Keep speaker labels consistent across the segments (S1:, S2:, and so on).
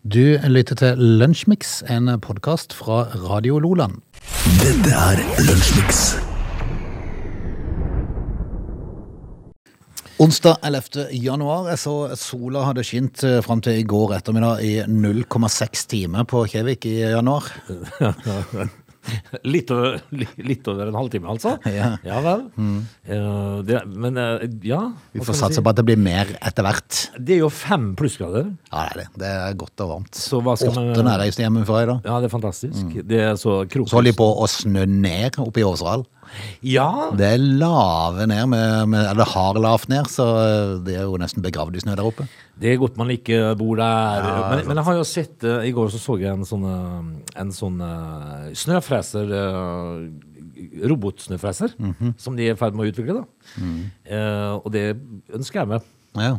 S1: Du lytter til Lunsjmix, en podkast fra Radio Loland.
S2: Dette er Lunsjmix.
S1: Onsdag 11. januar. Jeg så sola hadde skint eh, fram til i går ettermiddag i 0,6 timer på Kjevik i januar.
S3: Litt over, li- litt over en halvtime, altså?
S1: Ja. Mm.
S3: vel. Eh, det, men eh, ja
S1: Vi får
S3: hva skal man
S1: satse på at det blir mer etter hvert.
S3: si? Det er jo fem plussgrader.
S1: Ja, det er det. Det er godt og varmt.
S3: Så hva skal man-
S1: Åtte nærreiste hjemmefra i dag.
S3: Ja, det er fantastisk. Det er så krokus.
S1: Mm. Så holder de på å snø ned oppe i Åseral.
S3: Ja,
S1: Det er lave ned, med, med, eller har lavt ned, så eh, det er jo nesten begravd i snø der oppe.
S3: det er godt man ikke bor der. men, men jeg har jo sett eh, I går så så jeg en sånn, eh, en sånn eh, snøfreser eh, Robotsnøfreser.
S1: Mhm.
S3: Som de er i ferd med å utvikle, da.
S1: Mm.
S3: Eh, og det ønsker jeg meg.
S1: Ja,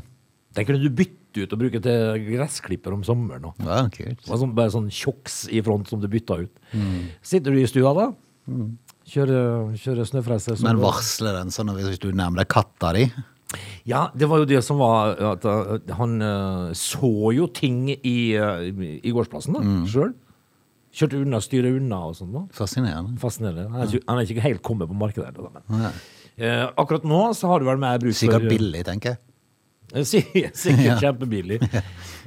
S3: Den kunne du bytte ut og bruke til gressklipper om sommeren. Og.
S1: ja kult.
S3: Det var sånn, bare sånn tjoks i front som du bytta ut.
S1: Mm.
S3: Sitter du i stua da, kjører, kjører snøfreser. som-
S1: Men varsler den sånn hvis du nærmer deg katta di?
S3: Ja, det var jo det som var at uh, han uh, så jo ting i, uh, i gårdsplassen da,
S1: Mm.
S3: sjøl. Kjørte unna, styrer unna og sånn. da.
S1: Fascinerende.
S3: Fascinerende. Han er, ikke- han er ikke helt kommet på markedet. Da, men. Eh, akkurat nå så har du vel mer bruk
S1: Sikkert
S3: for
S1: billig, tenker jeg.
S3: Sikkert, sikkert kjempebillig.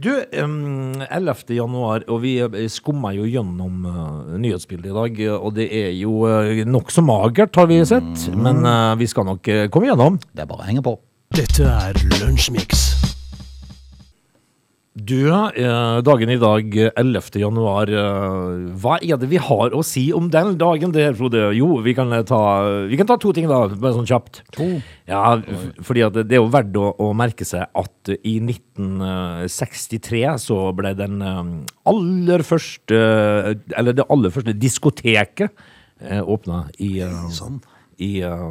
S3: Du, em, 11. januar, og vi eh, skummer jo gjennom eh, nyhetsbildet i dag, eh, og det er jo uh, nokså magert, har vi sett, men eh, vi skal nok eh, komme gjennom.
S1: Det er bare å henge på.
S2: Dette er Lunsjmix.
S3: Du, eh, dagen i dag, eh, 11. januar, eh, hva er det vi har å si om den dagen der, Frode? Jo, vi kan eh, ta, vi kan ta to ting da, bare sånn kjapt.
S1: To?
S3: Ja, f- fordi at det er jo verdt å, å merke seg at i 1963 så ble den eh, aller første, eh, eller det aller første diskoteket eh, åpna i, eh, i eh,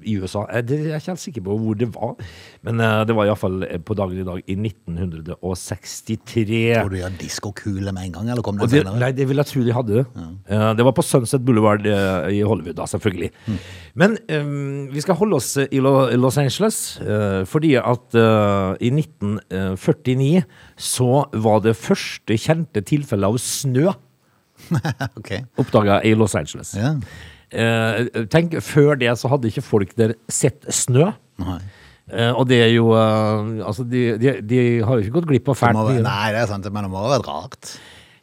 S3: i USA. Eh, det- Jeg er ikke helt sikker på hvor det var, men eh, det var iallfall på dagen i dag i 1963.
S1: Tror du gjør diskokule med en gang, eller kom
S3: Og
S1: det
S3: det,
S1: senere?
S3: nei, det vil jeg tro de hadde. Eh, det var på Sunset Boulevard eh, i Hollywood, da, selvfølgelig.
S1: Mm.
S3: Men eh, vi skal holde oss eh, i Lo- Los Angeles, eh, fordi at eh, i 1949 så var det første kjente tilfellet av snø
S1: Ok.
S3: oppdaga i Los Angeles.
S1: Ja.
S3: Eh, tenk, før det så hadde ikke folk der sett snø.
S1: Nei.
S3: Eh, og det er jo eh, Altså, de, de, de har jo ikke gått glipp av
S1: Det
S3: fælt
S1: må,
S3: mye.
S1: nei, det er sant, men det må ha vært rart.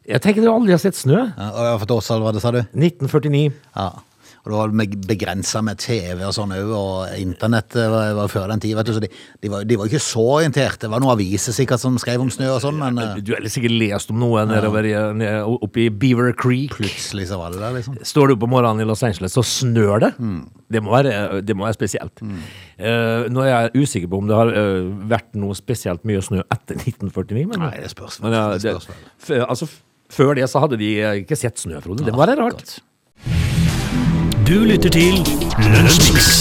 S3: Jeg tenker de aldri har sett snø.
S1: Ja, og for et årsall var det, sa du?
S3: 1949.
S1: Ja. Og det var meg- begrenset med TV og sånn òg, og internett eh, var, var før den tid, vet du. Så de, de, var, de var ikke så orienterte. Det var noen aviser sikkert som skrev om snø og sånn, men eh,
S3: Du har sikkert lest om noe nedover i, ned- oppe i Beaver Creek.
S1: plutselig så var det der, liksom.
S3: Står du opp om morgenen i Los Angeles, så snør det.
S1: Mm.
S3: Det, må være, det må være spesielt. Eh, nå er jeg usikker på om det har eh, vært noe spesielt mye snø etter 1949. Men,
S1: Nei, det spørs vel.
S3: Men, ja,
S1: Det
S3: det-
S1: spørs vel.
S3: f- altså, f- før det så hadde de eh, ikke sett snø, Frode. Det må være rart.
S1: Godt.
S2: Du lytter til Lunsjmix.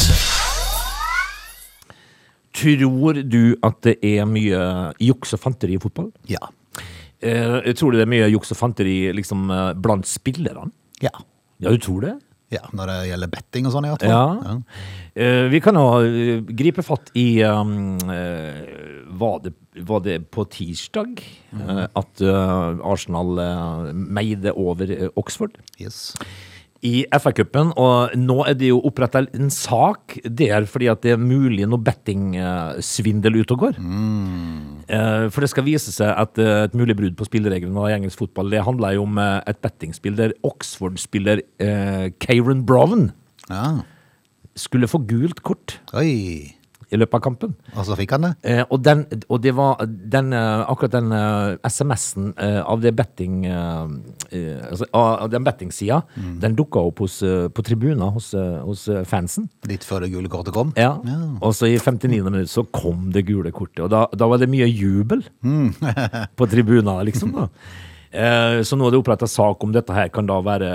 S3: Tror du at det er mye juks og fanteri i fotball?
S1: Ja.
S3: Eh, tror du det er mye juks og fanteri liksom, eh, blant spillerne?
S1: Ja.
S3: Ja, du tror det?
S1: ja. Når det gjelder betting og sånn, i hvert fall.
S3: Ja. Eh, vi kan jo eh, gripe fatt i um, eh, var, det, var det på tirsdag eh, at eh, Arsenal eh, meide over eh, Oxford?
S1: Yes.
S3: i FA-cupen, og nå er det jo opprettet en sak der fordi at det er mulig noe bettingsvindel ute og går. Eh, For det skal vise seg at eh, et mulig brudd på spillereglene i engelsk fotball, det handler jo om eh, et bettingspill der Oxford-spiller eh, Kieran Brown
S1: Ja.
S3: skulle få gult kort
S1: Oi.
S3: i løpet av kampen.
S1: Og så fikk han det?
S3: Eh, og den, og det var den, eh, akkurat den eh, SMS-en eh, av det betting eh, eh, altså, av av den bettingsida, den dukka opp hos, eh, på tribuner hos, eh, hos eh, fansen.
S1: Litt før det gule kortet kom?
S3: Ja. Og så i 59. minutt så kom det gule kortet, og da, da var det mye jubel på tribunene, liksom. da. Eh, så nå er det oppretta sak om dette her kan da være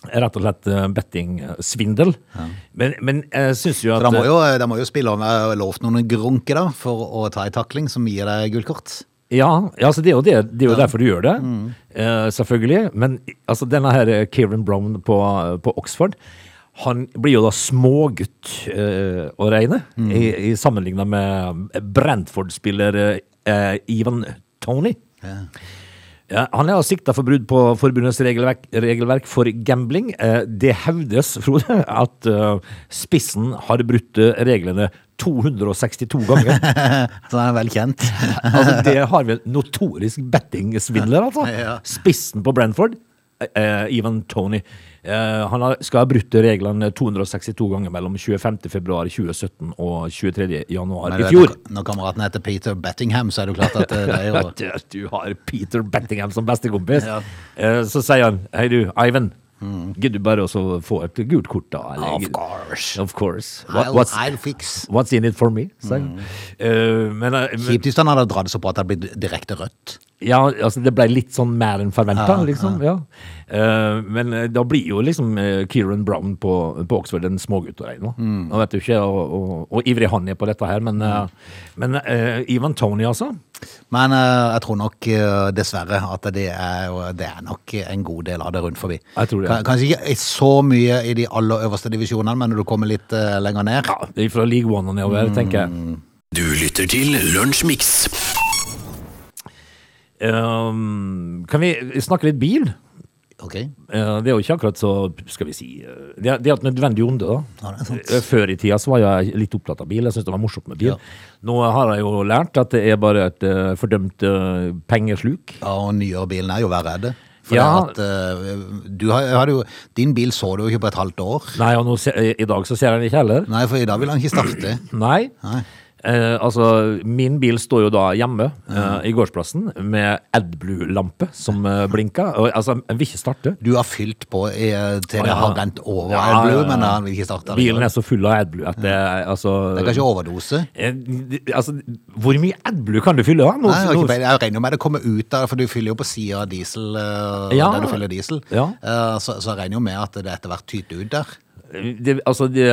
S3: rett og slett eh, bettingsvindel. Men, men jeg syns jo at
S1: For da må jo, eh, da må jo spilleren være lovt noen grunke da, for å ta en takling som gir deg gult kort.
S3: Ja, ja altså det er jo, det, det er jo derfor du gjør det, eh, selvfølgelig. Men altså, denne her eh, Kieran Brown på, eh, på Oxford, han blir jo da smågutt eh, å regne, i, i sammenlignet med Brentford-spiller eh, Ivan Tony. Ja, han er sikta for brudd på forbundets regelverk, regelverk for gambling. Eh, Det hevdes, Frode, at eh, spissen har brutt eh, reglene 262 ganger.
S1: Eh, Så han er vel kjent.
S3: altså, det har vel notorisk bettingsvindler, altså.
S1: Ja.
S3: Spissen på Brentford, eh, Ivan Tony, eh, han har, skal ha brutt reglene 262 ganger mellom 25.2.2017 og 23.1.
S1: Men
S3: i
S1: du
S3: fjor.
S1: vet, når- Når kameraten heter Peter Bettingham, så er det jo klart at eh, det er jo
S3: At at du har Peter Bettingham som bestekompis.
S1: Ja. Mm.
S3: Eh, Så sier han Hei du, Ivan. Gidder du bare også få et gult kort, da? eller?»
S1: Of course.
S3: Of course. What-
S1: I'll, Mm.
S3: what's,
S1: I'll fix.
S3: what's in it for me? sier han. Eh, men, eh, men
S1: Kjipt hvis han hadde dratt det så på at det hadde blitt direkte rødt.
S3: ja, altså det ble litt sånn mer enn forventa,
S1: Ja,
S3: liksom. Ja. Eh, men eh, da blir jo liksom eh, Kieran Brown på, på Oxford en smågutt å regne. Mm. Vet jo ikke og, og, og ivrig han er på dette her, men, eh, men eh, Ivan Tony, altså.
S1: Men eh, jeg tror nok eh, dessverre at det er, jo- det er nok en god del av det rundt forbi.
S3: Jeg tror det.
S1: Kan- Kanskje ikke så mye i de aller øverste divisjonene, men når du kommer litt eh, lenger ned
S3: Ja, fra League One og nedover, tenker jeg.
S2: Du lytter til Lunsjmix.
S3: Ehm, kan vi snakke litt bil?
S1: Ok,
S3: Eh, det er jo ikke akkurat så, skal vi si eh, Det er, det er et nødvendig onde, da.
S1: Ja, det er sant.
S3: Eh, Før i tida så var jeg litt opptatt av bil. Jeg syntes det var morsomt med bil. Nå har jeg jo lært at det er bare et eh, fordømt eh, pengesluk.
S1: ja, og nyere bilen er jo verre er det. For
S3: Ja.
S1: det at, eh, du har, hadde jo, din bil så du jo ikke på et halvt år.
S3: Nei, og nå se, eh, i dag så ser jeg den ikke heller.
S1: Nei, for i dag vil han ikke starte.
S3: Nei.
S1: Nei.
S3: Eh, altså, min bil står jo da hjemme eh, i gårdsplassen med AdBlue-lampe som eh, blinker. Og, altså, den vil ikke starte.
S1: Du har fylt på eh, til
S3: Å,
S1: det
S3: ja.
S1: har rent over
S3: Ja,
S1: AdBlue,
S3: ja, ja.
S1: men han vil ikke starte.
S3: Bilen
S1: likevel.
S3: er så full av AdBlue at det er altså
S1: Det er kanskje overdose?
S3: Eh, d- Altså, hvor mye AdBlue kan du fylle av? Nå-
S1: Nei, jeg, har
S3: nå-
S1: ikke peiling. jeg regner jo med det kommer ut der, for du fyller jo på sida av diesel. eh,
S3: Ja.
S1: Der du fyller diesel.
S3: Ja.
S1: Eh, Så, så jeg regner jo med at det etter hvert tyter ut der.
S3: det, altså, det,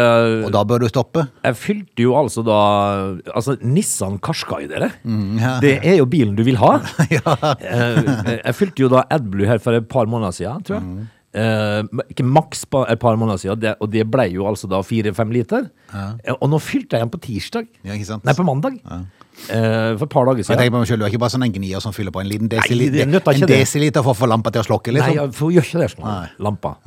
S1: Og da bør du stoppe.
S3: jeg fylte jo altså da Altså, Nissan Qashqai, dere.
S1: Mm, ja.
S3: Det er jo bilen du vil ha. Eh, jeg fylte jo da AdBlue her for et par måneder siden, tror jeg.
S1: Mm.
S3: Eh, ikke maks på et par måneder siden, det, og det ble jo altså da fire-fem liter. Eh, og nå fylte jeg den på tirsdag.
S1: Ja, ikke sant?
S3: Nei, på mandag. Eh, for et par dager
S1: Jeg
S3: siden.
S1: tenker på meg selv, Du er ikke bare sånn en gnier som fyller på en liten decili-
S3: det nytter ikke
S1: en
S3: det.
S1: desiliter for å få lampa til å slokke,
S3: Nei,
S1: liksom?
S3: jeg får- gjør ikke det. Sånn,
S1: Nei.
S3: lampa.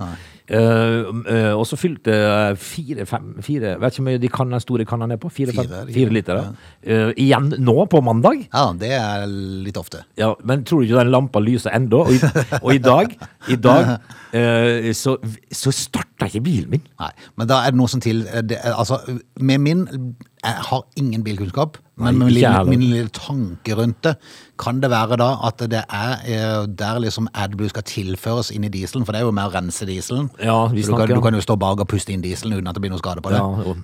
S3: Eh, eh, og så fylte jeg fire, fem, fire Vet ikke hvor mye de kan, den store kannene er på. Fire, fem,
S1: Fire, ja.
S3: fire, liter. Ja. Eh, igjen nå, på mandag.
S1: Ja, det er litt ofte.
S3: Ja, men tror du ikke den lampa lyser ennå? Og, i- og i dag, i dag eh, så, så starta ikke bilen min.
S1: Nei, men da er det noe som til eh, det, er- Altså, med min Jeg har ingen bilkunnskap, men med
S3: Nei,
S1: min,
S3: ikke jeg
S1: lille-
S3: heller.
S1: min lille tanke rundt det, kan det være da at det er eh, der liksom AdBlue skal tilføres inn i dieselen, for det er jo mer å rense dieselen.
S3: Ja, vi
S1: Så du, kan,
S3: snakker
S1: du
S3: om-
S1: kan jo stå bak og puste inn dieselen uten at det blir noe skade på det.
S3: Ja, jo.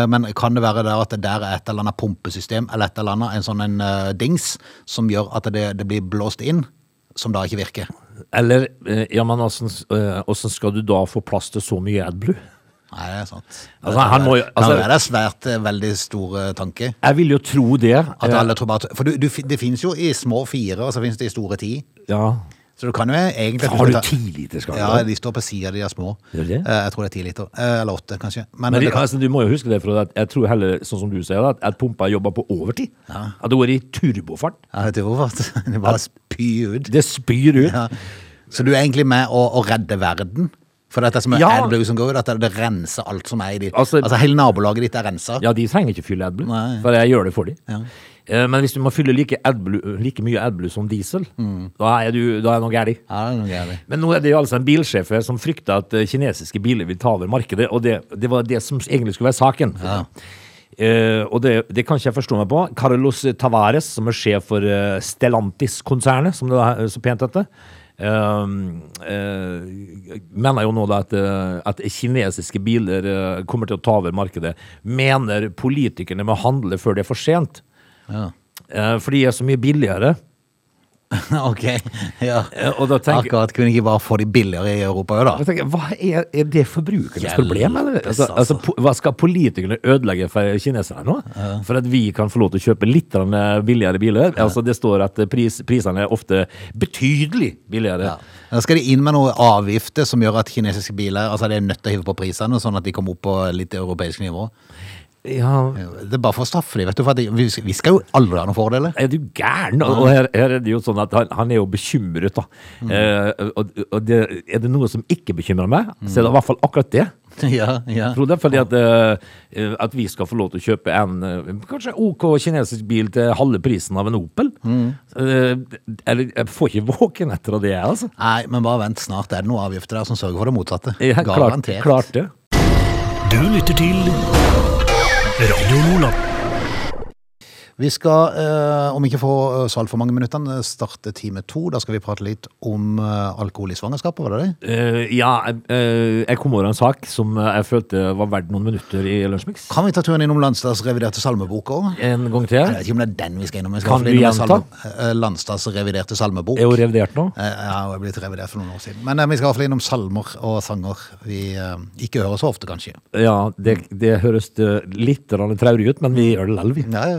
S1: Eh, men kan det være der at det der er et eller annet pumpesystem eller et eller annet, en sånn en, eh, dings, som gjør at det, det blir blåst inn, som da ikke virker?
S3: Eller eh, ja, men åssen eh, åssen skal du da få plass til så mye AdBlue?
S1: Nei, det er sant.
S3: Altså, han må jo-
S1: Kan
S3: altså-
S1: være det er svært eh, veldig stor eh, tanke.
S3: Jeg vil jo tro det.
S1: At
S3: eh,
S1: alle tror bare at, For du, du, fin- det finnes jo i små fire, og så finnes det i store ti.
S3: ja.
S1: Så du kan jo egentlig
S3: Har
S1: skal
S3: du
S1: ta-
S3: ti liter, skal du
S1: Ja,
S3: ha?
S1: de står på sida de er små.
S3: Gjør de det?
S1: Eh, Jeg tror det er ti liter. Eh, Eller åtte, kanskje. Men,
S3: Men
S1: det
S3: de,
S1: kan,
S3: altså, du må jo huske det, Frode, at jeg tror heller, sånn som du sier, det, at, at pumpa jobber på overtid. At det går i turbofart.
S1: jeg vet ikke hvorfor. Det bare spyr ut.
S3: Det spyr ut.
S1: Ja. Så du er egentlig med å, å redde verden? For dette som er
S3: Ja.
S1: AdBlue som går ut, at det renser alt som er i ditt Altså,
S3: Altså-
S1: hele nabolaget ditt er rensa?
S3: Ja, de trenger ikke fylle AdBlue,
S1: Nei.
S3: for jeg gjør det for dem. Eh, Men hvis du må fylle like, AdBlue, like mye AdBlue som diesel,
S1: Mm.
S3: da er, du, da er noe gærent.
S1: Ja, det er noe gærent.
S3: Men nå er det jo altså en bilsjef her som frykter at eh, kinesiske biler vil ta over markedet, og det, det var det som egentlig skulle være saken. Eh, og det, det kan ikke jeg forstå meg på. Carlos Tavares, som er sjef for eh, Stellantis-konsernet, som det er så pent heter, eh, eh, mener jo nå da at, eh, at kinesiske biler eh, kommer til å ta over markedet. Mener politikerne må handle før det er for sent,
S1: Ja.
S3: eh, for de er så mye billigere.
S1: ok. Ja.
S3: Eh, og da tenker,
S1: Akkurat. Kunne ikke bare få de billigere i Europa òg, da?
S3: Jeg tenker, hva er, er det forbrukernes
S1: Hjelpes,
S3: problem? Eller? Altså, altså,
S1: altså.
S3: po hva skal politikerne ødelegge for kineserne nå? For at vi kan få lov til å kjøpe litt grann, eh, billigere biler? Altså, det står at eh, pris, prisene er ofte betydelig billigere.
S1: Ja. Da skal de inn med noen avgifter som gjør at kinesiske biler altså de er nødt til å hive på prisene, sånn at de kommer opp på litt europeisk nivå.
S3: Ja,
S1: Det er bare for å straffe dem, vet du. For at de- vi skal- vi skal jo aldri ha noen fordeler.
S3: er du gæren? Og og her, her er det jo sånn at han, han er jo bekymret, da.
S1: Mm.
S3: Eh, og og det, er det noe som ikke bekymrer meg,
S1: Mm.
S3: så er det i hvert fall akkurat det.
S1: Ja, ja.
S3: Frode, fordi at, eh, at vi skal få lov til å kjøpe en eh, kanskje OK kinesisk bil til halve prisen av en Opel.
S1: Mm.
S3: Eh, eller, jeg får ikke våken etter av det, jeg, altså.
S1: Nei, men bare vent, snart er det noen avgifter der som sørger for det motsatte.
S3: Jeg har klart,
S1: Garantert.
S3: klart det.
S2: Du lytter til Radio Lola.
S1: Vi skal, eh, om ikke få eh, salt for mange minuttene, starte time to. Da skal vi prate litt om eh, alkohol i svangerskapet, var det det?
S3: Eh, ja, eh, jeg kom over en sak som jeg følte var verdt noen minutter i Lunsjmix.
S1: Kan vi ta turen innom Landstads reviderte salmebok òg?
S3: En gang
S1: Jeg
S3: til.
S1: vet ikke om det er den vi skal innom. Vi skal
S3: Kan
S1: iallfall
S3: du
S1: innom
S3: gjenta?
S1: salme- eh, Landstads reviderte salmebok.
S3: Er jo revidert nå.
S1: Eh, Ja, og jeg ble revidert for noen år siden. Men eh, vi skal iallfall innom salmer og sanger vi eh, ikke hører så ofte, kanskje.
S3: Ja, det, det høres eh, litt grann traurig ut, men vi
S1: Mm.
S3: gjør det likevel, vi.
S1: Ja, ja.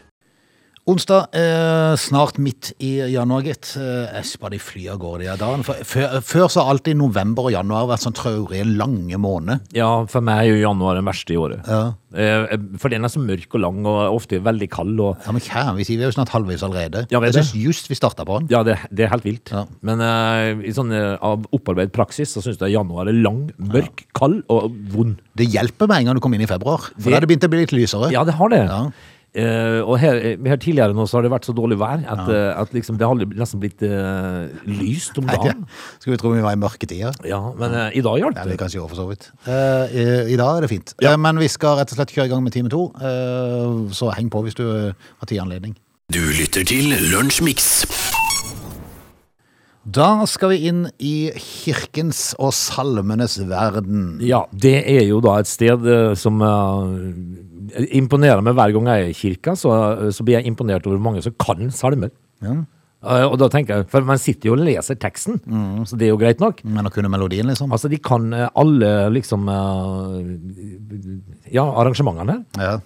S1: Onsdag, eh, snart midt i januar, gitt. Eh, jeg synes bare de flyr av gårde i dagen. For, før, før så har alltid november og januar vært sånn traurige, lange måneder.
S3: Ja, for meg er jo januar den verste i året.
S1: Ja.
S3: Eh, For den er så mørk og lang, og ofte veldig kald. Og
S1: Ja, men kjære, vi sier vi er jo snart halvveis allerede.
S3: Ja, vet
S1: jeg synes
S3: du.
S1: just vi startet på den.
S3: ja, det, det er helt vilt.
S1: Ja.
S3: Men eh, i sånn eh, av opparbeidet praksis så syns jeg januar er lang, mørk, kald og vond.
S1: Det hjelper med en gang du kommer inn i februar, for
S3: Det-
S1: da er det begynt å bli litt lysere.
S3: Ja, det har det.
S1: Ja.
S3: Eh, og her, her tidligere nå så har det vært så dårlig vær at, eh, at liksom det har nesten blitt eh, lyst om dagen.
S1: Skal vi tro vi var i mørketida?
S3: Ja, men eh, i dag hjalp
S1: Ja,
S3: det.
S1: det kan ikke gjøre, for så vidt. Eh, i, I dag er det fint. Eh, men vi skal rett og slett kjøre i gang med time to, eh, så heng på hvis du eh, har tid og anledning.
S2: Du lytter til Lunsjmix.
S1: Da skal vi inn i kirkens og salmenes verden.
S3: Ja, det er jo da et sted eh, som eh, imponerer meg hver gang jeg er i kirka, så, eh, så blir jeg imponert over hvor mange som kan salmer. Eh, og da tenker jeg, for man sitter jo og leser teksten,
S1: Mm.
S3: så det er jo greit nok.
S1: Men å kunne melodien, liksom.
S3: Altså, de kan eh, alle liksom eh, Ja, arrangementene.
S1: Ja.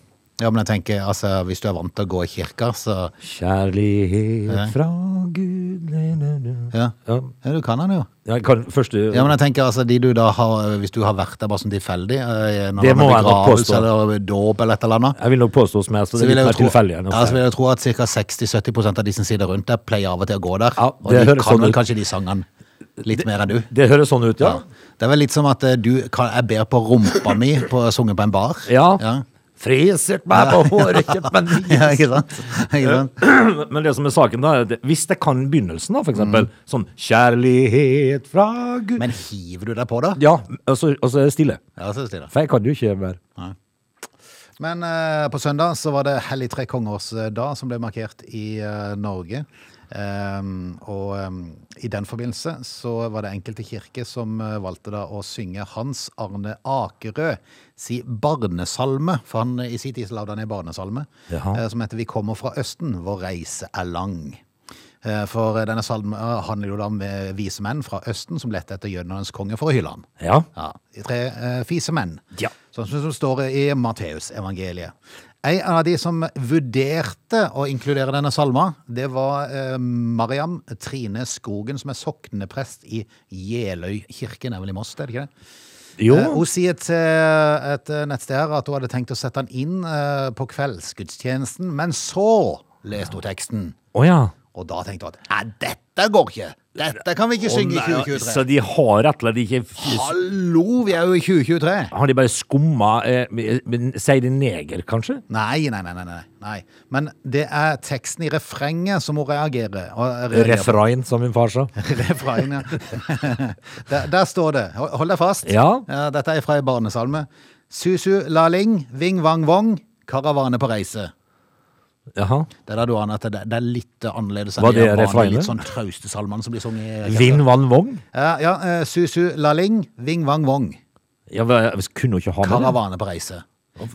S1: ja, men jeg tenker, altså, hvis du er vant til å gå i kirka, så
S3: Kjærlighet fra Gud ne, ne, ne.
S1: Ja,
S3: Ja,
S1: ja du kan den jo.
S3: jeg kan eh, første
S1: Ja, men jeg tenker altså, de du da har, Hvis du har vært der bare sånn tilfeldig eh, når han
S3: Det
S1: er
S3: må jeg nok
S1: begravelse
S3: påstå.
S1: Eller dåp eller et eller annet
S3: Jeg vil nok påstå som jeg, så
S1: så
S3: det er
S1: vil,
S3: litt
S1: jeg jo
S3: mer
S1: tro,
S3: tilfeldig. enn å
S1: ja, så
S3: si.
S1: vil jeg jo tro at ca. 60-70 av de som sitter rundt der, pleier av og til å gå der.
S3: Ja,
S1: og
S3: det
S1: de
S3: høres
S1: kan
S3: sånn
S1: vel
S3: ut.
S1: kanskje de sangene litt mer enn du.
S3: Det høres sånn ut, ja.
S1: Ja. Det er vel litt som at eh, du kan, jeg ber på rumpa mi på sunget på en bar.
S3: Ja.
S1: Ja,
S3: Frisert meg på håret, kjøpt meg ny
S1: ja ikke sant? Ikke sant?
S3: Men det som er saken da, er at hvis jeg kan begynnelsen da, for eksempel, sånn kjærlighet fra Gud.
S1: Mm. Men hiver du deg på, da?
S3: ja, og så, og så er det stille.
S1: Ja, så er det stille.
S3: For jeg kan jo ikke mer.
S1: Men eh, på søndag så var det Hellig tre kongers eh, dag som ble markert i eh, Norge. Ehm, og ehm, i den forbindelse så var det enkelte kirke som eh, valgte da å synge Hans Arne Akerø si barnesalme, for han eh, i sin tid så lagde han en barnesalme
S3: Jaha.
S1: eh, som heter Vi kommer fra Østen, vår reise er lang. Eh, For eh, denne salmen eh, handler jo da om eh, vise menn fra Østen som lette etter jødenes konge for å hylle han.
S3: Ja.
S1: Ja, de tre eh, fise menn.
S3: Ja.
S1: Sånn som det står i Matteusevangeliet. En av de som vurderte å inkludere denne salma, det var eh, Mariam Trine Skogen, som er sokneprest i Jeløykirken, er vel i Moss, er det ikke det?
S3: Jo.
S1: Eh, hun sier til et eh, nettsted her at hun hadde tenkt å sette den inn eh, på kveldsgudstjenesten, men så leste hun teksten.
S3: Åja.
S1: Og da tenkte hun at nei, dette går ikke! Dette kan vi ikke synge i 2023.
S3: Så de har rett og slett ikke...
S1: Hallo, vi er jo i 2023!
S3: Har de bare skummet, eh, men sier de neger kanskje?
S1: Nei, nei, nei, nei, nei, nei. Men det er teksten i refrenget som hun reagerer. og- reagerer på.
S3: Refrain, som min far sa.
S1: Refrain, ja. der, der står det. Hold hold deg fast.
S3: Ja.
S1: dette er fra ei barnesalme. Susu laling, ving vang vong, karavane på reise.
S3: Jaha.
S1: Det er der du aner at det, det er litt annerledes enn
S3: Var
S1: de
S3: det
S1: vanlige,
S3: refrenget?
S1: Litt sånn trauste salmene som blir sunget. i-
S3: Vinn, vann, vogn?
S1: Ja, ja eh, susu laling, ving vang vong.
S3: Ja, men jeg kunne jo ikke ha med det.
S1: Karavane på reise.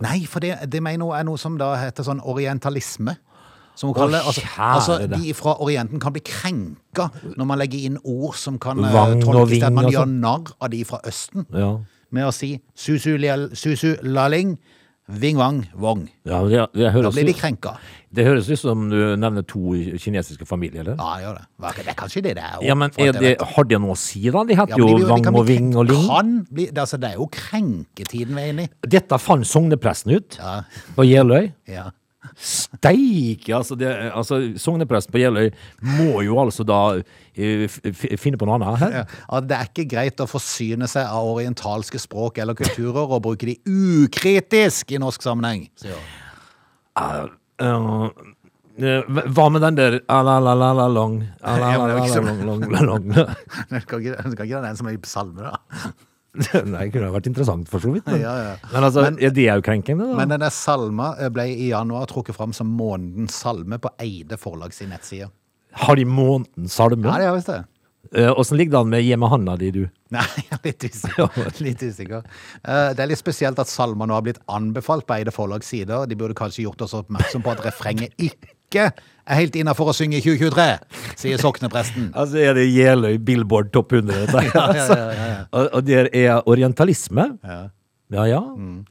S1: Nei, for det, det mener hun er noe som da heter sånn orientalisme. Som hun kaller det. Altså,
S3: kjære
S1: altså,
S3: det.
S1: de fra Orienten kan bli krenka når man legger inn ord som kan eh,
S3: Vang og
S1: tolkes til
S3: ving
S1: at man
S3: og
S1: gjør
S3: sånn.
S1: narr av de fra Østen
S3: Ja.
S1: med å si susu, liel- susu laling, Ving-wang Wong.
S3: Ja, det, det,
S1: Da
S3: høres,
S1: blir de
S3: ut-
S1: krenka.
S3: det høres ut som du nevner to kinesiske familier, eller?
S1: Ja, det gjør det. Hva- Det er kanskje det det er.
S3: Ja, men
S1: for
S3: er
S1: at jeg
S3: det,
S1: vet
S3: har det noe å si, da? De
S1: Ja,
S3: heter
S1: men de
S3: jo
S1: blir- de
S3: Wang
S1: kan
S3: og
S1: bli
S3: Ving
S1: krenkt-
S3: og Ling.
S1: Kan bli, det, altså, det er jo krenketiden vi er inne i.
S3: Dette fant sognepresten ut
S1: Ja.
S3: på Jeløy.
S1: Ja.
S3: Steike! Altså, det, altså, sognepresten på Jeløy må jo altså da eh, f- f- finne på noe annet her.
S1: Ja, at det er ikke greit å forsyne seg av orientalske språk eller kulturer og bruke de ukritisk i norsk sammenheng. sier hun.
S3: Eh, eh, hva med den der a-la-la-la-la-long
S1: Ja, men det er jo ikke så-
S3: a-la-la-la-la-long
S1: Men Kan ikke kan ikke det være den som er i salme, da?
S3: Nei, det kunne ha vært interessant for så vidt. Men,
S1: Ja, ja.
S3: men altså, er det jo krenkende, da?
S1: Men den der salma eh, ble i januar trukket fram som månedens salme på Eide forlag sin nettside.
S3: Har de månedens salme?
S1: Ja, det gjør visst det.
S3: Eh, Åssen ligger det an med hjemme handa di, du?
S1: Nei, jeg er litt usikker. Litt usikker. Eh, Det er litt spesielt at salma nå har blitt anbefalt på Eide forlags sider. De burde kanskje gjort oss oppmerksom på at refrenget ikke er helt innafor å synge i 2023, sier soknepresten.
S3: Altså, er det Jeløy Billboard Topp 100? Dette, her, altså? Og, og der er orientalisme? Ja Mm. ja.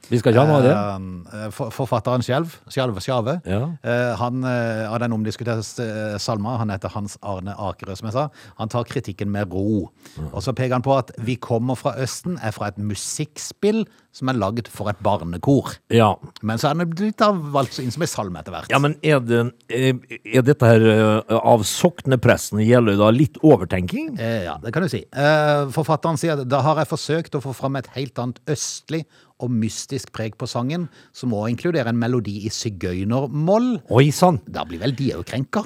S3: Vi skal ikke ha noe av det.
S1: Eh, for- Forfatteren selv, Skjalve Skjave,
S3: Ja.
S1: eh, han eh, av den omdiskuterte eh, salma, han heter Hans Arne Akerø, som jeg sa, han tar kritikken med ro. Og så peker han på at Vi kommer fra Østen er fra et musikkspill som er lagd for et barnekor.
S3: Ja.
S1: Men så er den blitt da valgt inn som en salme etter hvert.
S3: ja, men er, det, eh, er dette her eh, av soknepresten i Jeløy da litt overtenking?
S1: Eh, ja, det kan du si. Eh, forfatteren sier at da har jeg forsøkt å få fram et helt annet østlig og mystisk preg på sangen, som òg inkluderer en melodi i sigøynermoll.
S3: Oi sann!
S1: Da blir vel de òg krenka?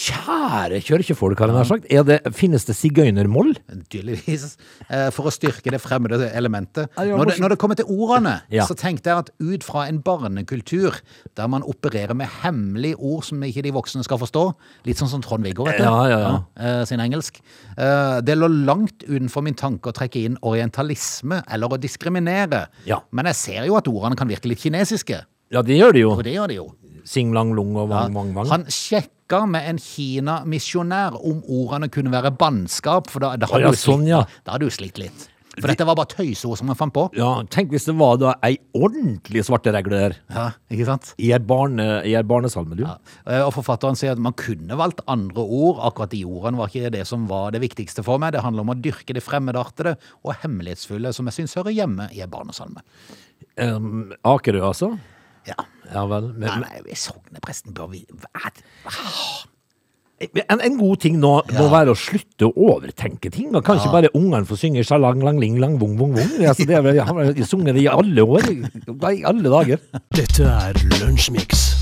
S3: Kjære kjørkjefolk, har jeg nær sagt. Er det, finnes det sigøynermoll?
S1: Tydeligvis. Eh, For å styrke det fremmede elementet.
S3: Ja, det
S1: Når
S3: var
S1: det,
S3: morsomt.
S1: når det kommer til ordene,
S3: Ja.
S1: så tenkte jeg at ut fra en barnekultur der man opererer med hemmelige ord som ikke de voksne skal forstå, litt sånn som Trond-Viggo, vet du,
S3: Ja, ja, ja.
S1: eh, sin engelsk Eh, Det lå langt utenfor min tanke å trekke inn orientalisme eller å diskriminere.
S3: Ja.
S1: Men jeg ser jo at ordene kan virke litt kinesiske.
S3: Ja, det gjør det jo.
S1: Og det gjør de jo.
S3: Sing-lang-lung og vang-vang-vang.
S1: Han sjekka med en Kina-misjonær om ordene kunne være bannskap, for da, da,
S3: Å
S1: hadde
S3: ja,
S1: du slitt,
S3: sånn, ja.
S1: da hadde du slitt litt. For dette var bare tøyseord som han fant på.
S3: Ja, tenk hvis det var da ei ordentlig svarte regle der.
S1: Ja, ikke sant?
S3: I ei barne, i ei barnesalme, du.
S1: Eh, Og forfatteren sier at man kunne valgt andre ord. Akkurat de ordene var ikke det som var det viktigste for meg. Det handler om å dyrke det fremmedartede og hemmelighetsfulle som jeg syns hører hjemme i en barnesalme.
S3: Em, Akerø, altså?
S1: Ja.
S3: Ja vel. Men,
S1: Nei, nei, sognepresten bør vi Hva?
S3: men en, en god ting nå må være å slutte å overtenke ting. Og kanskje bare ungene får synge sjalang, lang, ling, lang, vung, vung, vung. Altså, det er vel, har vel sunget det i alle år. I alle dager.
S2: Dette er Lunsjmix.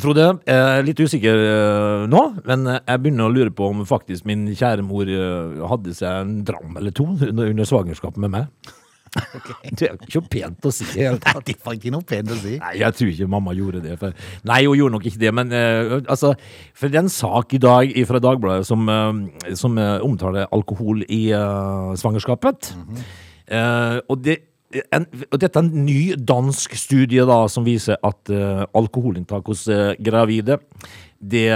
S3: Frode, jeg er litt usikker eh, nå, men eh, jeg begynner å lure på om faktisk min kjære mor eh, hadde seg en dram eller to under, under svangerskapet med meg. Det er jo ikke pent å si. i det hele
S1: Nei, det var ikke noe pent å si.
S3: Nei, jeg tror ikke mamma gjorde det. For, nei, hun gjorde nok ikke det, men eh, altså For den sak i dag fra Dagbladet som, eh, som eh, omtaler alkohol i eh, svangerskapet eh, og, det, en, og dette er en ny dansk studie da som viser at eh, alkoholinntak hos eh, gravide det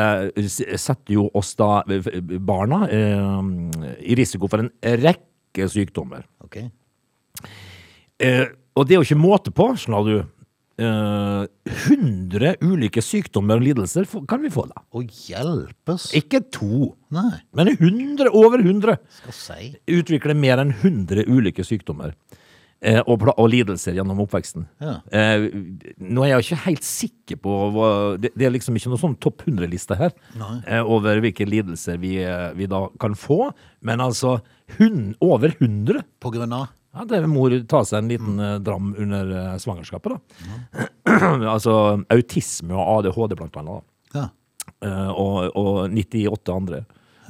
S3: s- setter jo oss da, eh, barna, eh, i risiko for en rekke sykdommer.
S1: Ok.
S3: Eh, og det er jo ikke måte på, skjønner du. Eh, 100 ulike sykdommer og lidelser få- kan vi få, da.
S1: Å hjelpes.
S3: Ikke to,
S1: Nei,
S3: men 100 over 100.
S1: skal si.
S3: Utvikler mer enn 100 ulike sykdommer eh, og, pla- og lidelser gjennom oppveksten.
S1: Ja.
S3: Eh, nå er jeg ikke helt sikker på hva, det, det er liksom ikke noen sånn topp 100-liste her
S1: Nei.
S3: eh, over hvilke lidelser vi, eh, vi da kan få, men altså hun, over 100
S1: På grunn av
S3: ja, det er mor tar seg en liten eh, dram under eh, svangerskapet, da. altså autisme og ADHD, blant annet. Da.
S1: Ja.
S3: Eh, og, og 98 andre.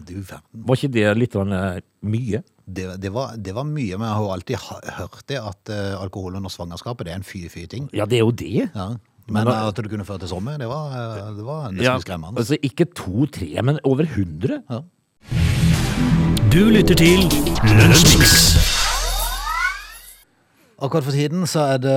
S1: Du verden.
S3: Var ikke det litt grann, eh, mye?
S1: Det, det, var, det var mye, men jeg har jo alltid ha- hørt det at eh, alkohol under svangerskapet det er en fy-fy ting.
S3: Ja, det er jo det.
S1: Ja. Men, eh, at det kunne føre til sommer, det var, eh, det var nesten
S3: Ja,
S1: skremmende.
S3: altså ikke to-tre, men over 100.
S1: Ja.
S2: Du lytter til Lunsjmix.
S1: Akkurat for tiden så er det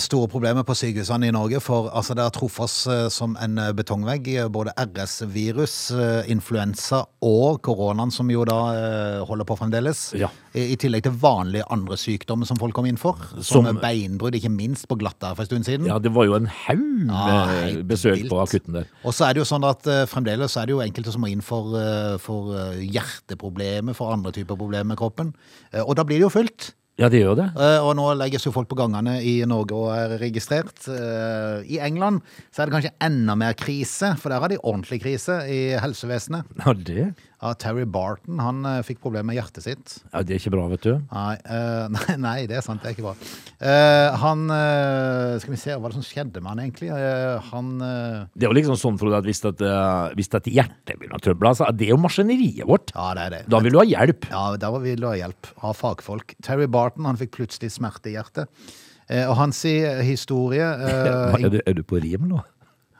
S1: store problemer på sykehusene i Norge, for altså, det har truffet oss eh, som en eh, betongvegg. eh, Både RS-virus, eh, influensa og koronaen, som jo da eh, holder på fremdeles.
S3: Ja.
S1: I, I tillegg til vanlige andre sykdommer som folk kom inn for. Som,
S3: Som-
S1: beinbrudd, ikke minst på Glattær for en stund siden.
S3: Ja, det var jo en haug
S1: Nei,
S3: med besøk på
S1: vilt.
S3: akutten der.
S1: Og så er det jo sånn at eh, fremdeles så er det jo enkelte som må inn for, eh, for eh, hjerteproblemer, for andre typer problemer med kroppen. Eh, og da blir det jo fullt.
S3: Ja, det gjør jo det.
S1: Eh, Og nå legges jo folk på gangene i Norge og er registrert. Eh, I England så er det kanskje enda mer krise, for der har de ordentlig krise i helsevesenet.
S3: Ja, det,
S1: Ja, Terry Barton han eh, fikk problemer med hjertet sitt.
S3: ja, det er ikke bra, vet du.
S1: Nei, eh, nei, nei, det er sant, det er ikke bra. Eh, han eh, Skal vi se, hva er det som skjedde med han egentlig? Eh, han eh,
S3: Det er jo liksom sånn, Frode, at hvis, at, eh, hvis at hjertet begynner å trøble, altså, det er jo maskineriet vårt.
S1: Ja, det er det.
S3: Da vil du ha hjelp.
S1: Ja, der var vi la hjelp av fagfolk. Terry Barton han fikk plutselig smerte i hjertet. Eh, og hans eh, historie eh,
S3: Hva, er, du, er du på rim nå?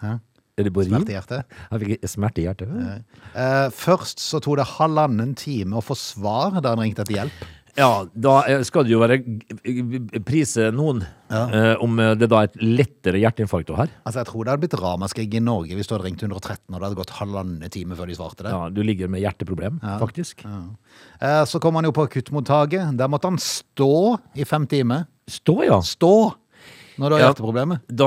S1: Hæ?
S3: Er du på rim?
S1: Smerte i hjertet?
S3: Jeg fikk smerte i hjertet.
S1: Eh, først så tok det halvannen time å få svar da han ringte etter hjelp.
S3: Ja, da eh, skal det jo være g- g- prise noen eh, om eh, det da er et lettere hjerteinfarkt du har.
S1: Altså, Jeg tror det hadde blitt ramaskrik i Norge hvis du hadde ringt 113 og det hadde gått halvannen time før de svarte det.
S3: Ja, du ligger med hjerteproblem, faktisk.
S1: Eh, så kom han jo på akuttmottaket. Der måtte han stå i fem timer.
S3: Stå, ja.
S1: Stå! Når du har
S3: Ja.
S1: hjerteproblemet.
S3: Da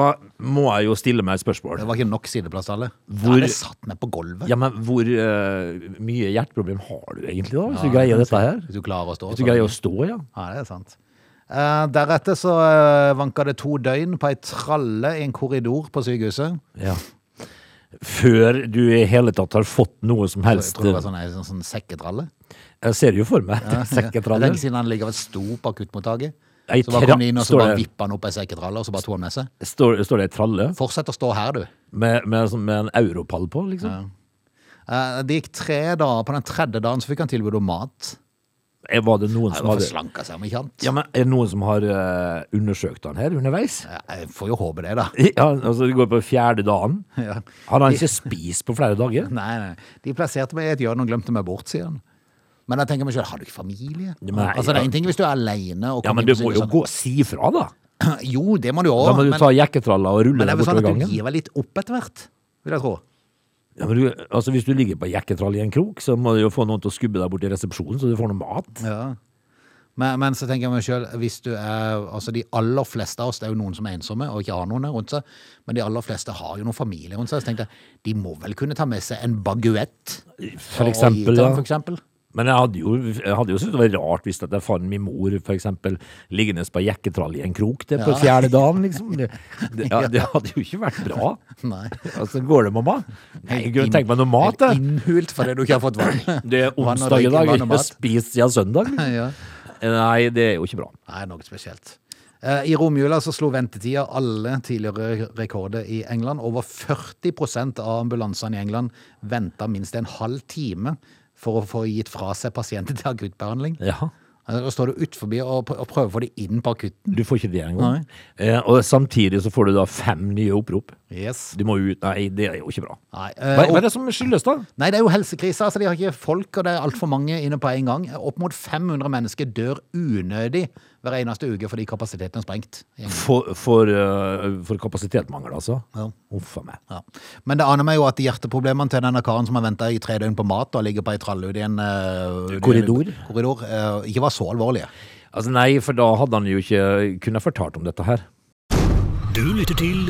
S3: må jeg jo stille meg et
S1: Det
S3: spørsmål.
S1: var ikke nok sideplass til alle.
S3: Hvor-
S1: Ja, det satt meg på gulvet.
S3: Ja, men hvor eh, mye hjerteproblem har du egentlig da, hvis du greier dette her?
S1: Hvis du klarer å stå.
S3: Hvis
S1: så er
S3: du
S1: det
S3: greier
S1: greit.
S3: å stå, ja.
S1: Ja, det er sant. Eh, deretter så eh, vanka det to døgn på ei tralle i en korridor på sykehuset.
S3: ja. Før du i hele tatt har fått noe som
S1: Jeg
S3: helst. eh,
S1: tror det var sånn, ei sånn, sånn sekketralle.
S3: Jeg ser det jo for meg.
S1: Det er
S3: Sekketraller.
S1: lenge siden han ligger og sto på akuttmottaket.
S3: Ei
S1: Så bare
S3: trapp
S1: kom de inn, og så
S3: står
S1: bare
S3: det.
S1: vippa han opp ei sekketralle, og så bare tok han med seg.
S3: Står, står det ei tralle
S1: Fortsett å stå her, du.
S3: med, med, sånn- med en europall på, liksom?
S1: Eh, Det gikk tre dager. På den tredje dagen så fikk han tilbud om mat.
S3: Eh, Var det noen
S1: Han
S3: som
S1: var
S3: hadde
S1: forslanka seg, om ikke annet.
S3: Ja, men Er det noen som har eh, undersøkt han her underveis?
S1: Eh, Jeg får jo håpe det, da.
S3: Ja, altså Det går på fjerde dagen.
S1: Ja.
S3: Har han ikke spist på flere dager?
S1: Nei, nei. De plasserte meg i et hjørne og glemte meg bort, sier han. Men jeg tenker meg selv, har du ikke familie?
S3: Nei,
S1: altså, Det
S3: ja.
S1: er en ting hvis du er aleine.
S3: Ja, Men du må jo gå og si ifra, da!
S1: sånn, Jo, det må du òg.
S3: Da må du
S1: men,
S3: ta jekketralla og rulle
S1: men det
S3: deg
S1: er vel sånn
S3: bortover
S1: at du
S3: gangen.
S1: gir vel litt opp etter hvert, vil jeg tro.
S3: Ja, men du, altså Hvis du ligger på jekketrall i en krok, så må du jo få noen til å skubbe deg bort i resepsjonen, så du får noe mat.
S1: Ja. Men, men så tenker jeg meg selv, hvis du er, altså de aller fleste av oss, det er jo noen som er ensomme og ikke har noen rundt seg, men de aller fleste har jo noen familie rundt seg, så tenkte jeg, de må vel kunne ta med seg en baguett?
S3: For eksempel,
S1: ja.
S3: ja.
S1: For eksempel.
S3: Men jeg hadde jo, jeg hadde jo syntes det var rart hvis at jeg fant min mor for eksempel, liggende på jekketrall i en krok det på fjerde dagen, liksom. Det, det, ja, det hadde jo ikke vært bra.
S1: Nei.
S3: Altså, går det, mamma? Nei, jeg kunne tenkt meg noe mat,
S1: Helt
S3: jeg.
S1: Innhult fordi du ikke har fått vann.
S3: Det er
S1: Vann og
S3: onsdag i
S1: røyking, vann
S3: dag, jeg
S1: og
S3: har
S1: mat.
S3: spist siden søndag.
S1: ja.
S3: Nei, det er jo ikke bra.
S1: Nei, noe spesielt. Eh, I romjula så slo ventetida alle tidligere rekorder i England. Over 40 av ambulansene i England venta minst en halv time for å få gitt fra seg pasienter til akuttbehandling.
S3: Ja,
S1: Eh, Da står du utforbi og pr- og prøver å få dem inn på akutten.
S3: du får ikke det engang. Eh, og samtidig så får du da fem nye opprop.
S1: Yes.
S3: Du må ut. Nei, det er jo ikke bra.
S1: Nei, eh,
S3: Hva, hva
S1: og,
S3: er det som skyldes, da?
S1: nei, det er jo helsekrise. Altså, de har ikke folk, og det er altfor mange inne på en gang. Opp mot 500 mennesker dør unødig hver eneste uke fordi kapasiteten er sprengt. i England.
S3: For, for, eh, for kapasitetmangel, altså?
S1: Ja.
S3: Uff a meg.
S1: Ja. Men det aner meg jo at hjerteproblemene til denne karen som har venta i tre døgn på mat og ligger på ei tralle ute i en eh,
S3: Korridor.
S1: korridor eh, ikke var så alvorlige.
S3: Altså, nei, for da hadde han jo ikke kunnet fortalt om dette her.
S2: Du lytter til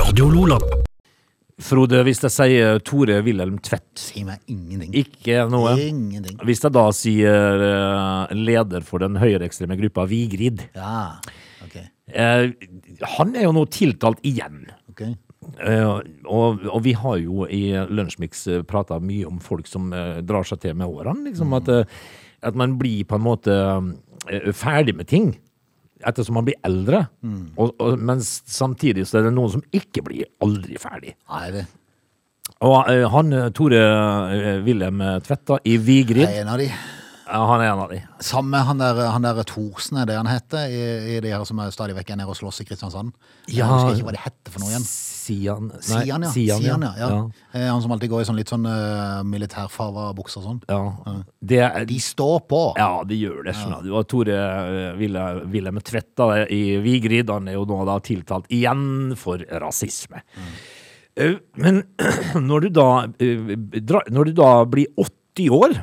S2: Radio Lola.
S3: Frode, hvis jeg sier Tore Wilhelm Tvedt,
S1: Sier meg ingenting.
S3: ikke noe.
S1: Ingenting.
S3: Hvis jeg da sier eh, leder for den høyreekstreme gruppa Vigrid
S1: Ja, ok.
S3: eh, Han er jo nå tiltalt igjen.
S1: ok.
S3: Eh, og, og vi har jo i Lunsjmix prata mye om folk som eh, drar seg til med årene. Liksom, at, eh, at man blir på en måte eh, ferdig med ting ettersom man blir eldre.
S1: Mm.
S3: Og, og, mens samtidig så er det noen som ikke blir aldri ferdig.
S1: Nei, det
S3: Og eh, han eh, Tore eh, Wilhelm Tvedt da, i Vigrid
S1: er en av de.
S3: Ja, han er en av de.
S1: Sammen med han der, han der Thorsen, er det han heter, i, i de her som er stadig vekk er nede og slåss i Kristiansand. Jeg
S3: Ja.
S1: husker ikke hva det heter for noe igjen.
S3: Sian Nei,
S1: Sian, ja. Sian, ja. ja.
S3: ja.
S1: Eh, Han som alltid går i sånn litt sånn uh, militærfarva bukser og sånn.
S3: Ja. Det er,
S1: De står på!
S3: Ja, de gjør det. skjønner du. Og Tore eh, Wille- Wilhelm Tvedt da, i Vigrid han er jo nå da tiltalt igjen for rasisme. Eh, Men når du da, eh, dra- når du da blir 80 år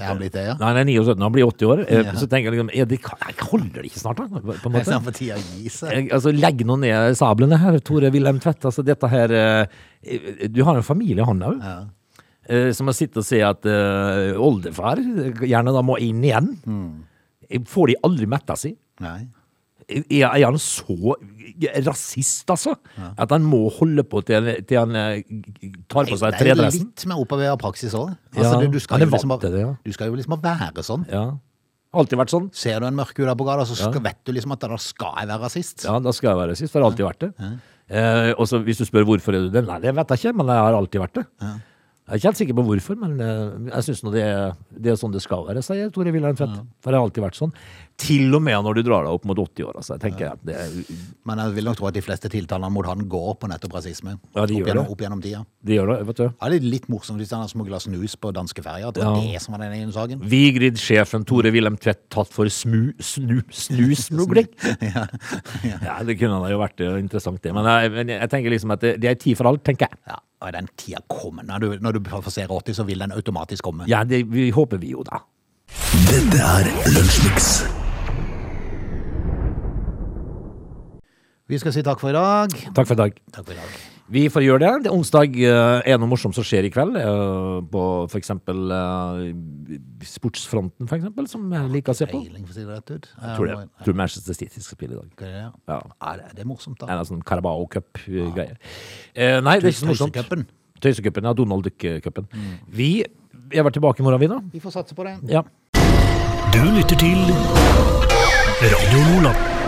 S1: Er han blitt det, ja?
S3: Nei, han er 79, han blir 80 år. eh,
S1: Ja.
S3: Så tenker jeg liksom er det, jeg Holder det ikke snart, da? På en
S1: Det er
S3: måte.
S1: sånn for tida å gi seg.
S3: Jeg- Altså, Legg nå ned sablene her, Tore Wilhelm Tvedt. Altså, dette her eh, Du har en familie, han òg.
S1: Ja.
S3: Eh, som har sittet og sett at eh, oldefar gjerne da må inn igjen.
S1: Mm.
S3: Får de aldri metta si? Eh,
S1: Nei.
S3: Er, er han så rasist, altså? At han må holde på til, til han eh, tar på seg
S1: Det er
S3: tredressen?
S1: litt med opparbeida praksis òg.
S3: Ja,
S1: Altså, du, du, skal
S3: han er
S1: jo liksom
S3: vant til det, ja.
S1: bare- du skal jo liksom bare være sånn.
S3: Ja. Alltid vært sånn.
S1: Ser du en mørkhud der på gata, så skal, vet du liksom at da skal jeg være rasist.
S3: Ja, da skal jeg være rasist. Det har alltid vært det. Eh, og så hvis du spør hvorfor er du det, nei, det vet jeg ikke, men jeg har alltid vært det. Jeg er ikke helt sikker på hvorfor, men eh, jeg syns det, er- det er sånn det skal være, sier Tore Wilhelm Tvedt. For det har alltid vært sånn. Til og med når du drar deg opp mot 80 år, altså. Jeg tenker at det,
S1: Men jeg vil nok tro at de fleste tiltalene mot han går på nettopp rasisme.
S3: Ja,
S1: opp,
S3: de gjør det.
S1: gjennom, opp gjennom tida.
S3: det gjør det, vet du.
S1: Ja, det er litt morsomt hvis han har smugla snus på danskeferja. At det var
S3: Ja.
S1: det som var den ene saken.
S3: Vigrid-sjefen Tore Wilhelm Tvedt tatt for smu, snu, snusmugling.
S1: Ja.
S3: Ja, det kunne da jo vært eh, interessant, det. Men jeg, men jeg tenker liksom at det, det er tid for alt, tenker jeg.
S1: Ja, og den tida kommer. Når du, når du passerer 80, så vil den automatisk komme.
S3: Ja, det vi håper vi jo, da.
S2: Dette er Lunsjmix.
S1: Vi skal si takk for i dag.
S3: Takk for i dag.
S1: Takk for i dag.
S3: Vi får gjøre det. det er onsdag eh, er noe morsomt som skjer i kveld. eh, På for eksempel eh, sportsfronten, for eksempel, som jeg liker å se på.
S1: Peiling, for å si det rett ut.
S3: Jeg tror, det, tror Manchester City skal spille i dag.
S1: det, ja.
S3: Ja.
S1: Ja, det- det er morsomt,
S3: Det
S1: da.
S3: er en sånn Carabao Cup-greie. Eh, Nei, det er ikke så morsomt.
S1: Tøysecupen.
S3: Tøysecupen. Ja, Donald Duck-cupen. Vi er vært tilbake i morgen, vi, da.
S1: Vi får satse på det.
S3: Ja.
S2: Du lytter til Radio Lola.